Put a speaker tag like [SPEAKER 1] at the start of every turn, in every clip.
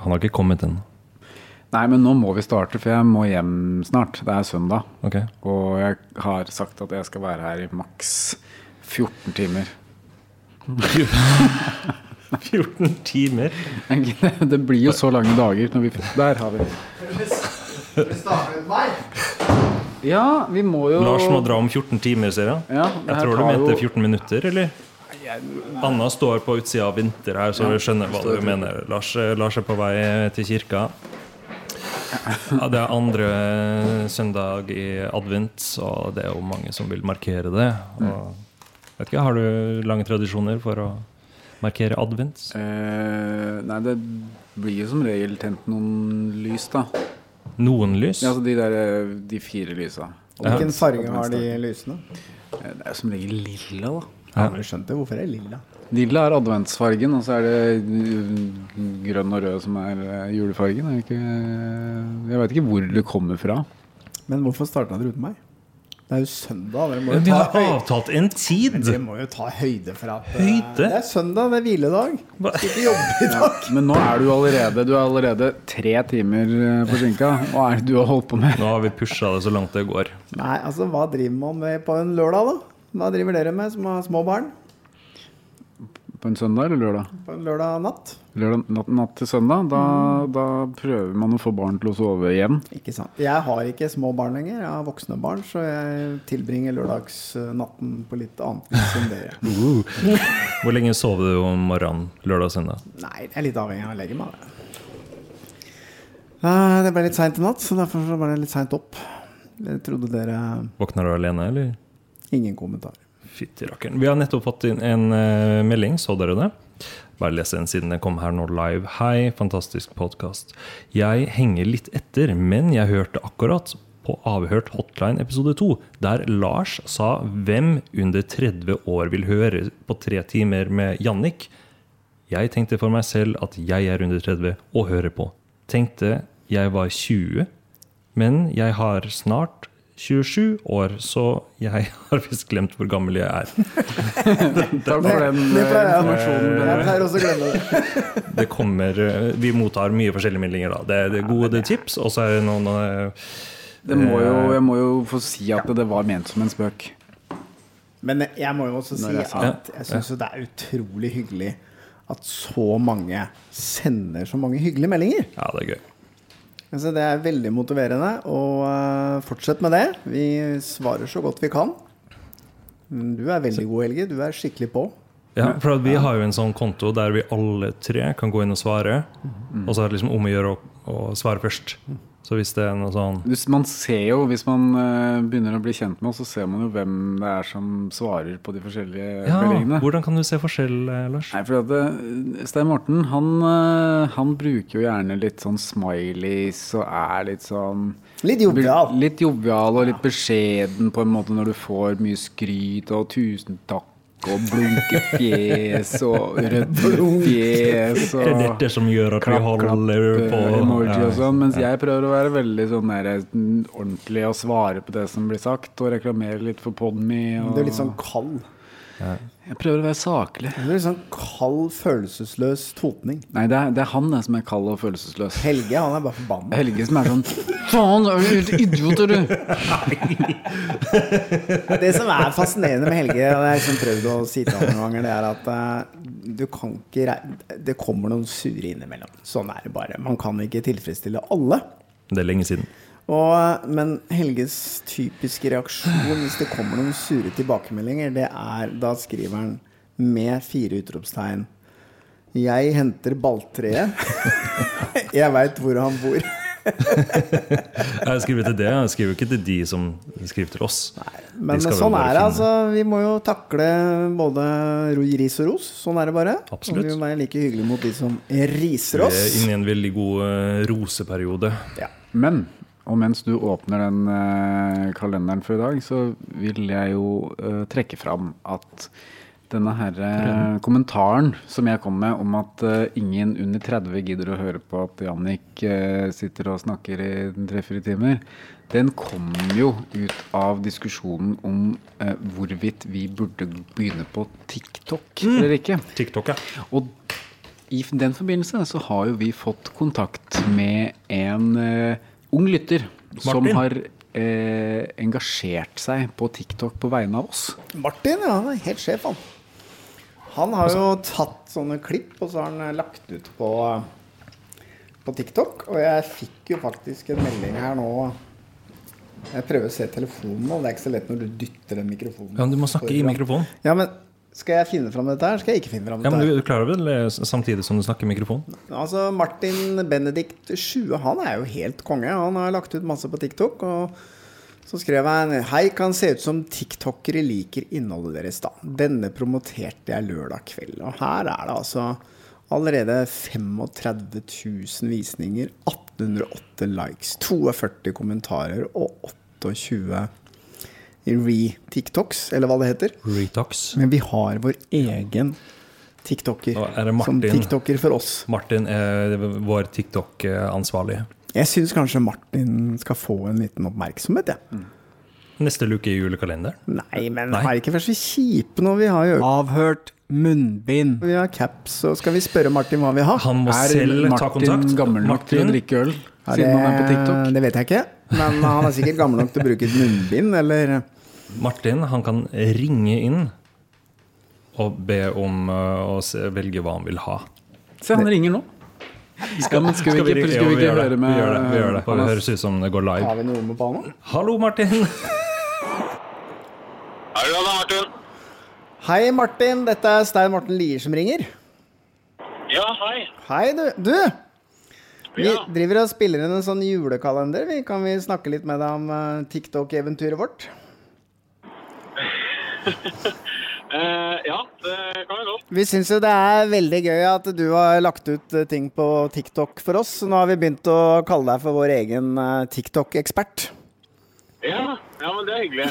[SPEAKER 1] Han har ikke kommet inn.
[SPEAKER 2] Nei, men nå må vi starte, for jeg må hjem snart. Det er søndag.
[SPEAKER 1] Ok.
[SPEAKER 2] Og jeg har sagt at jeg skal være her i maks 14 timer.
[SPEAKER 1] 14 timer.
[SPEAKER 2] Det blir jo så lange dager når vi Der har vi det. Ja, vi må jo
[SPEAKER 1] Lars må dra om 14 timer, ser jeg.
[SPEAKER 2] Ja, det
[SPEAKER 1] jeg
[SPEAKER 2] her
[SPEAKER 1] tror du
[SPEAKER 2] tar jo-
[SPEAKER 1] mente 14 minutter, eller? Anna står på utsida av vinter her, så du skjønner hva du mener. Lars, eh, Lars er på vei til kirka. Ja, det er andre søndag i advent, og det er jo mange som vil markere det.
[SPEAKER 2] Mm.
[SPEAKER 1] Og, vet ikke, Har du lange tradisjoner for å markere advent?
[SPEAKER 2] Eh, nei, det blir jo som regel tent noen lys, da.
[SPEAKER 1] Noen lys?
[SPEAKER 2] Ja, altså de der eh, De fire lysa.
[SPEAKER 1] Ja.
[SPEAKER 3] Hvilken farge har de lysene?
[SPEAKER 2] Eh, Det er jo som regel lilla, da.
[SPEAKER 3] Ja. men skjønt det. Hvorfor er det lilla?
[SPEAKER 2] Lilla er adventsfargen, og så er det mm, grønn og rød som er eh, julefargen. Er det ikke, eh, jeg veit ikke hvor det kommer fra.
[SPEAKER 3] Men hvorfor starta dere uten meg? Det er jo søndag. Dere må
[SPEAKER 2] altså,
[SPEAKER 3] jo
[SPEAKER 1] Vi
[SPEAKER 3] ta,
[SPEAKER 1] har
[SPEAKER 3] høy...
[SPEAKER 1] avtalt en tid!
[SPEAKER 3] dere må jo ta høyde for at eh,
[SPEAKER 1] Høyde?
[SPEAKER 3] Det er søndag, det er hviledag.
[SPEAKER 1] Hva-
[SPEAKER 3] Skal ikke jobbe i dag.
[SPEAKER 2] Men nå er du allerede Du er allerede tre timer eh, forsinka. Hva er det du har holdt på med?
[SPEAKER 1] Nå har vi pusha det så langt det går.
[SPEAKER 3] Nei, altså, hva driver man med på en lørdag, da? Hva driver dere med som har små barn
[SPEAKER 2] På en søndag eller lørdag?
[SPEAKER 3] på en lørdag natt?
[SPEAKER 2] Lørdag natt, natt til søndag? Da, da prøver man å få barn til å sove igjen.
[SPEAKER 3] Ikke sant. Jeg har ikke små barn lenger, jeg har voksne barn, så jeg tilbringer lørdagsnatten på litt annet vis enn dere.
[SPEAKER 1] Hvor lenge sover du om morgenen lørdag og søndag?
[SPEAKER 3] Nei, jeg er litt avhengig av å legge meg. Eh, Det ble litt seint i natt, så derfor så var det litt seint opp. Jeg trodde dere
[SPEAKER 1] Våkner du alene, eller?
[SPEAKER 3] Ingen kommentar.
[SPEAKER 1] Fytti rakkeren. Vi har nettopp fått inn en eh, melding, så dere det? Bare les den siden den kom her nå live. Hei, fantastisk podkast. Jeg henger litt etter, men jeg hørte akkurat på Avhørt hotline episode 2, der Lars sa 'Hvem under 30 år vil høre på tre timer med Jannik?' Jeg tenkte for meg selv at jeg er under 30 og hører på. Tenkte jeg var 20, men jeg har snart 27 år, så jeg har visst glemt hvor gammel jeg er.
[SPEAKER 2] Takk
[SPEAKER 3] Det,
[SPEAKER 2] for den
[SPEAKER 3] det
[SPEAKER 2] eh,
[SPEAKER 3] pleier jeg,
[SPEAKER 2] informasjonen.
[SPEAKER 3] jeg pleier også å glemme det.
[SPEAKER 1] Det kommer, eh, Vi mottar mye forskjellige meldinger, da. Det er det er gode tips, og så er det noen eh,
[SPEAKER 2] Det må jo, jeg må jo få si at det var ment som en spøk.
[SPEAKER 3] Men jeg må jo også si
[SPEAKER 2] Når jeg sa-
[SPEAKER 3] at jeg syns jo det er utrolig hyggelig at så mange sender så mange hyggelige meldinger.
[SPEAKER 1] Ja, det er gøy.
[SPEAKER 3] Altså, det er veldig motiverende, og eh, fortsett med det. Vi svarer så godt vi kan. Men Du er veldig god, Helge. Du er skikkelig på.
[SPEAKER 1] Ja, for at vi har jo en sånn konto der vi alle tre kan gå inn og svare. Og så er det liksom om å gjøre å, å svare først. Så hvis det er noe sånn
[SPEAKER 2] Hvis man ser jo, hvis man eh, begynner å bli kjent med oss, så ser man jo hvem det er som svarer på de forskjellige
[SPEAKER 1] Ja,
[SPEAKER 2] meldingene.
[SPEAKER 1] hvordan kan du se forskjell, eh, Lars?
[SPEAKER 2] Nei, for at eh, Stein Morten, han, eh, han bruker jo gjerne litt sånn smileys og er litt sånn
[SPEAKER 3] Litt jovial.
[SPEAKER 2] Litt jovial og litt beskjeden på en måte når du får mye skryt og 'tusen takk' og blunkefjes og rødde fjes
[SPEAKER 1] Det er
[SPEAKER 2] og
[SPEAKER 1] dette som gjør at vi
[SPEAKER 2] klapp, klapp,
[SPEAKER 1] holder på
[SPEAKER 2] eh, emoji og
[SPEAKER 1] Ja.
[SPEAKER 2] sånn. Mens jeg prøver å være veldig sånn der, mm, ordentlig og svare på det som blir sagt, og reklamere litt for Podme. Og...
[SPEAKER 3] Du er litt sånn kald.
[SPEAKER 2] Jeg prøver å være saklig.
[SPEAKER 3] Du er litt sånn kald, følelsesløs totning.
[SPEAKER 2] Nei, det er, det er han det, som er kald og følelsesløs.
[SPEAKER 3] Helge, han er bare forbanna.
[SPEAKER 2] Helge som er sånn Faen, er du helt idiot, er du?
[SPEAKER 3] Det som er fascinerende med Helge, og jeg har liksom prøvd å si til ham noen ganger, det er at eh, du kan ikke re- Det kommer noen sure innimellom. Sånn er det bare. Man kan ikke tilfredsstille alle.
[SPEAKER 1] Det er lenge siden.
[SPEAKER 3] Og, men Helges typiske reaksjon hvis det kommer noen sure tilbakemeldinger, det er da skriver han med fire utropstegn Jeg henter balltreet. Jeg veit hvor han bor.
[SPEAKER 1] Jeg skriver til det, jeg skriver ikke til de som skriver til oss.
[SPEAKER 3] Men
[SPEAKER 1] De skal
[SPEAKER 3] sånn
[SPEAKER 1] vel bare
[SPEAKER 3] er det.
[SPEAKER 1] finne-
[SPEAKER 3] altså Vi må jo takle både ro- ris og ros. Sånn er det bare.
[SPEAKER 1] Absolutt.
[SPEAKER 3] Og vi må være like hyggelige mot de som riser
[SPEAKER 1] Vi
[SPEAKER 3] oss.
[SPEAKER 1] er inne i en veldig god eh, roseperiode.
[SPEAKER 3] Ja.
[SPEAKER 2] Men og mens du åpner den eh, kalenderen for i dag, så vil jeg jo eh, trekke fram at denne her, eh, kommentaren som jeg kom med om at eh, ingen under 30 gidder å høre på at Jannik eh, sitter og snakker i tre-fire timer, den kom jo ut av diskusjonen om eh, hvorvidt vi burde begynne på TikTok eller ikke.
[SPEAKER 1] TikTok, ja.
[SPEAKER 2] Og I f- den forbindelse så har jo vi fått kontakt med en eh, ung lytter som
[SPEAKER 1] Martin.
[SPEAKER 2] har eh, engasjert seg på TikTok på vegne av oss.
[SPEAKER 3] Martin, ja, han er helt sjef, han. Han har jo tatt sånne klipp, og så har han eh, lagt ut på, eh, på TikTok. Og jeg fikk jo faktisk en melding her nå Jeg prøver å se telefonen nå, det er ikke så lett når du dytter den mikrofonen.
[SPEAKER 1] Ja, men du må snakke i
[SPEAKER 3] foran.
[SPEAKER 1] mikrofonen.
[SPEAKER 3] Ja, men skal jeg finne fram dette her? Skal jeg ikke finne fram
[SPEAKER 1] Ja,
[SPEAKER 3] dette?
[SPEAKER 1] men
[SPEAKER 3] her?
[SPEAKER 1] du, du klarer vel eh, s- samtidig som du snakker i mikrofonen?
[SPEAKER 3] Altså, Martin Benedikt Sjue, han er jo helt konge. Han har lagt ut masse på TikTok. Og så skrev han Hei, kan se ut som tiktokere liker innholdet deres, da. Denne promoterte jeg lørdag kveld. Og her er det altså allerede 35 000 visninger, 1808 likes, 42 kommentarer og 28 re-TikToks, eller hva det heter.
[SPEAKER 1] Retox.
[SPEAKER 3] Men vi har vår egen tiktoker
[SPEAKER 1] Og er det
[SPEAKER 3] som
[SPEAKER 1] Martin?
[SPEAKER 3] tiktoker for oss.
[SPEAKER 1] Martin er vår eh, TikTok-ansvarlig.
[SPEAKER 3] Jeg syns kanskje Martin skal få en liten oppmerksomhet, jeg.
[SPEAKER 1] Neste luke i julekalenderen.
[SPEAKER 3] Nei, men
[SPEAKER 1] Nei.
[SPEAKER 3] er det ikke først vi kjipe nå? Vi har jo
[SPEAKER 2] Avhørt munnbind.
[SPEAKER 3] vi har caps, så skal vi spørre Martin hva vi har.
[SPEAKER 1] Han må
[SPEAKER 2] Er
[SPEAKER 1] selv ta kontakt.
[SPEAKER 2] Martin gammel nok til å
[SPEAKER 1] Martin,
[SPEAKER 2] drikke øl
[SPEAKER 3] Er
[SPEAKER 2] siden han er på TikTok?
[SPEAKER 3] Det vet jeg ikke. Men han er sikkert gammel nok til å bruke et munnbind, eller
[SPEAKER 1] Martin han kan ringe inn og be om eh, å se, velge hva han vil ha.
[SPEAKER 2] Se, han ringer nå. Skal, men skal vi ikke,
[SPEAKER 1] ringe?
[SPEAKER 2] skal vi
[SPEAKER 1] Jo,
[SPEAKER 2] ikke
[SPEAKER 1] gjør det.
[SPEAKER 2] høre med
[SPEAKER 1] Vi
[SPEAKER 2] eh,
[SPEAKER 1] gjør det. Vi gjør det.
[SPEAKER 2] Han
[SPEAKER 1] det
[SPEAKER 2] er-
[SPEAKER 1] høres ut som det går live.
[SPEAKER 3] Har vi noe med banen?
[SPEAKER 1] Hallo, Martin!
[SPEAKER 4] Er det da, Martin?
[SPEAKER 3] Hei, Martin. Dette er Stein Morten Lier som ringer.
[SPEAKER 4] Ja, hei.
[SPEAKER 3] Hei, du. Du! Vi
[SPEAKER 4] Ja.
[SPEAKER 3] driver og spiller inn en sånn julekalender. Vi kan vi snakke litt med deg om eh, TikTok-eventyret vårt?
[SPEAKER 4] Eh, ja, det kan jeg godt.
[SPEAKER 3] Vi syns jo det er veldig gøy at du har lagt ut eh, ting på TikTok for oss. Nå har vi begynt å kalle deg for vår egen eh, TikTok-ekspert.
[SPEAKER 4] Ja, ja, men det er hyggelig.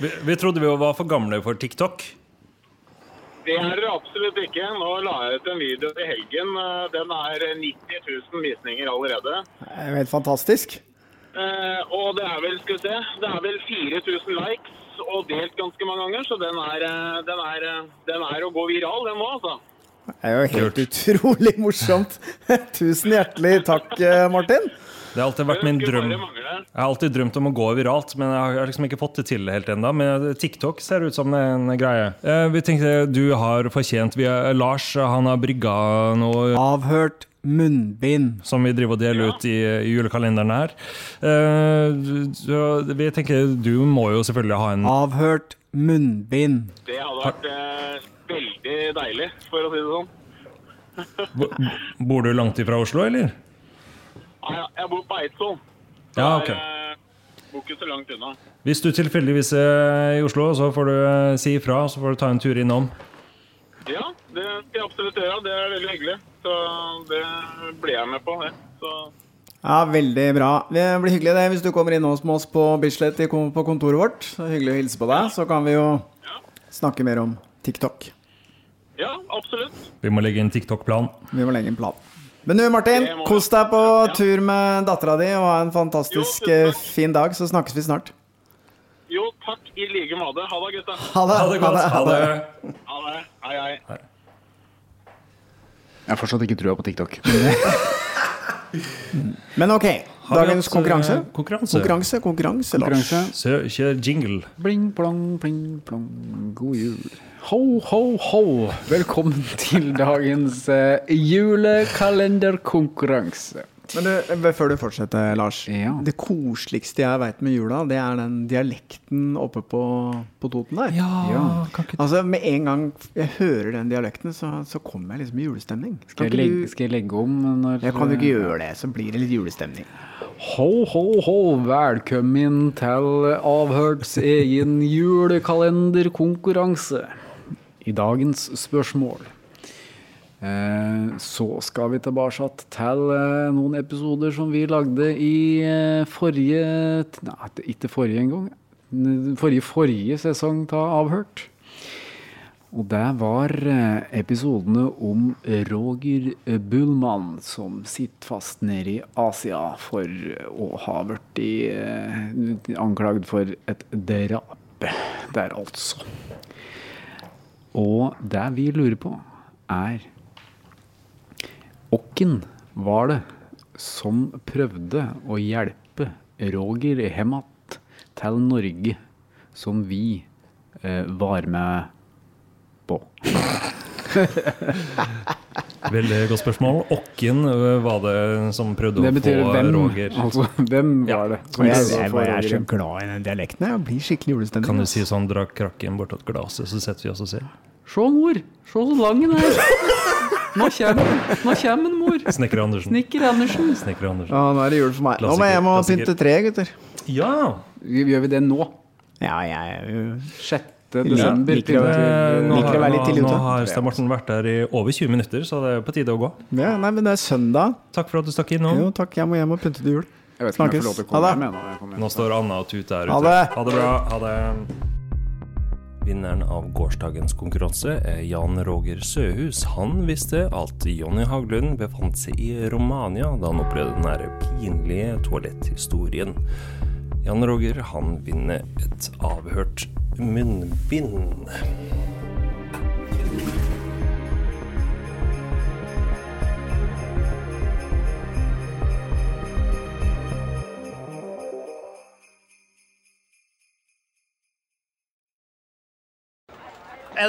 [SPEAKER 1] Vi, vi trodde vi var for gamle for TikTok.
[SPEAKER 4] Det er det absolutt ikke. Nå la jeg ut en video i helgen. Eh, Den er 90 000 visninger allerede.
[SPEAKER 3] Det er jo helt fantastisk.
[SPEAKER 4] Eh, og det er vel, skal vi se, det er vel 4000 likes og delt ganske mange ganger, så den er, eh, den er, eh, den er å gå viral, den nå, altså.
[SPEAKER 3] Det er jo helt utrolig morsomt. Tusen hjertelig takk, eh, Martin.
[SPEAKER 1] Det har alltid vært min
[SPEAKER 4] Det skulle
[SPEAKER 1] drøm.
[SPEAKER 4] bare mangle.
[SPEAKER 1] Jeg har alltid drømt om å gå viralt, men jeg har liksom ikke fått det til helt ennå. Men TikTok ser ut som en greie. Eh, Vi tenkte du har fortjent vi er, Lars han har brygga noe
[SPEAKER 2] Avhørt munnbind.
[SPEAKER 1] som vi driver og deler ut i, i julekalenderen her. Eh, du- du- Vi tenker du må jo selvfølgelig ha en
[SPEAKER 2] Avhørt munnbind.
[SPEAKER 4] Det hadde vært eh, veldig deilig, for å si det sånn.
[SPEAKER 1] Bor du langt ifra Oslo, eller?
[SPEAKER 4] Nei, ja, jeg bor på Eidsvoll.
[SPEAKER 1] Ja, ok.
[SPEAKER 4] Jeg eh, bor ikke så langt unna.
[SPEAKER 1] Hvis du tilfeldigvis er i Oslo, så får du eh, si ifra, og så får du ta en tur innom.
[SPEAKER 4] Ja, det skal jeg absolutt gjøre. Det er veldig hyggelig. Så det ble jeg med på, det. Så
[SPEAKER 3] Ja, Veldig bra. Det blir hyggelig det hvis du kommer innom med oss på Bislett i kon- på kontoret vårt. Så Hyggelig å hilse på deg. Så kan vi jo snakke mer om TikTok.
[SPEAKER 4] ja, absolutt.
[SPEAKER 1] Vi må legge en TikTok-plan.
[SPEAKER 3] Vi må legge en plan. Men du, Martin,
[SPEAKER 4] Det må vi.
[SPEAKER 3] kos deg på tur med dattera di, og ha en fantastisk
[SPEAKER 4] Jo, tusen
[SPEAKER 3] eh,
[SPEAKER 4] takk.
[SPEAKER 3] fin dag. Så snakkes vi snart.
[SPEAKER 4] Jo, takk i like måte. Ha det, gutta.
[SPEAKER 3] Ha det.
[SPEAKER 1] Ha det godt. Ha det.
[SPEAKER 4] Ha det. Hei, hei.
[SPEAKER 2] Jeg har fortsatt ikke trua på TikTok.
[SPEAKER 3] Men ok,
[SPEAKER 1] vi
[SPEAKER 3] dagens
[SPEAKER 1] hatt,
[SPEAKER 3] konkurranse.
[SPEAKER 1] eh, konkurranse?
[SPEAKER 3] konkurranse. Konkurranse, Lars.
[SPEAKER 2] Konkurranse.
[SPEAKER 1] Så kjør jingle.
[SPEAKER 2] Bling, plong, pling, plong. God jul. Ho, ho, ho. Velkommen til dagens eh, julekalenderkonkurranse.
[SPEAKER 3] Men du, eh, før du fortsetter, Lars.
[SPEAKER 2] Ja.
[SPEAKER 3] Det koseligste jeg veit med jula, det er den dialekten oppe på, på Toten der.
[SPEAKER 2] Ja.
[SPEAKER 1] kan ikke
[SPEAKER 3] Altså, Med en gang jeg hører den dialekten, så, så kommer jeg liksom i julestemning.
[SPEAKER 2] Skal jeg, legge, skal jeg legge om når
[SPEAKER 3] jeg kan jo ikke gjøre det, så blir det litt julestemning.
[SPEAKER 2] Ho, ho, ho, velkommen til Avhørts egen julekalenderkonkurranse. I dagens spørsmål eh, så skal vi tilbake til eh, noen episoder som vi lagde i eh, forrige Nei, ikke forrige engang. Den Forrige, forrige sesong av Avhørt. Og det var eh, episodene om Roger eh, Bullmann som sitter fast nede i Asia for eh, å ha vært i, eh, anklagd for et drap der, altså. Og det vi lurer på, er Hvilken var det som prøvde å hjelpe Roger Hemat til Norge, som vi eh, var med på?
[SPEAKER 1] Veldig godt spørsmål. Åkken øh, var det som prøvde
[SPEAKER 2] Det
[SPEAKER 1] å
[SPEAKER 2] betyr
[SPEAKER 1] få
[SPEAKER 2] hvem,
[SPEAKER 1] Roger.
[SPEAKER 2] altså. Hvem
[SPEAKER 1] Ja.
[SPEAKER 2] var det?
[SPEAKER 1] Og
[SPEAKER 2] som
[SPEAKER 5] Og jeg,
[SPEAKER 2] prøvde å
[SPEAKER 5] jeg,
[SPEAKER 2] få
[SPEAKER 5] jeg er så
[SPEAKER 2] Roger?
[SPEAKER 5] glad i den dialekten. Jeg blir skikkelig julestemning. altså.
[SPEAKER 1] Kan du
[SPEAKER 5] ass.
[SPEAKER 1] si sånn, dra krakken bortåt glasset, så setter vi oss og ser.
[SPEAKER 6] Se, mor. Se så lang den er. Nå kommer den. Nå kommer den, mor.
[SPEAKER 1] Snekker Andersen.
[SPEAKER 6] Snekker Andersen.
[SPEAKER 1] Snekker Andersen.
[SPEAKER 5] Ja, nå er det jul for meg. Nå må
[SPEAKER 1] Klassiker,
[SPEAKER 5] jeg hjem og
[SPEAKER 1] klassiker.
[SPEAKER 5] pynte tre, gutter.
[SPEAKER 1] Ja!
[SPEAKER 2] Gjør vi det nå?
[SPEAKER 5] Ja, jeg
[SPEAKER 2] 6. desember?
[SPEAKER 5] liker å være-
[SPEAKER 1] Eh, Nå
[SPEAKER 5] Liker å
[SPEAKER 1] har,
[SPEAKER 5] være litt tidlig
[SPEAKER 1] nå, nå
[SPEAKER 5] ute.
[SPEAKER 1] har Stein Morten vært der i over 20 minutter, så det er på tide å gå.
[SPEAKER 5] Ja, nei, men det er søndag.
[SPEAKER 1] Takk for at du stakk innom.
[SPEAKER 5] Jo, takk. Jeg må hjem og pynte til jul.
[SPEAKER 2] Jeg vet ikke om jeg
[SPEAKER 5] Snakkes.
[SPEAKER 2] får lov til å
[SPEAKER 5] Ha
[SPEAKER 2] komme
[SPEAKER 5] det.
[SPEAKER 2] hjem jeg, når jeg kommer hjem.
[SPEAKER 1] Nå står Anna og Tut der ute.
[SPEAKER 5] Ha det.
[SPEAKER 1] ha det bra. Ha det. Vinneren av gårsdagens konkurranse er Jan Roger Søhus. Han visste at Jonny Haglund befant seg i Romania da han opplevde den nære pinlige toaletthistorien. Jan Roger han vinner et avhørt munnbind.
[SPEAKER 7] Er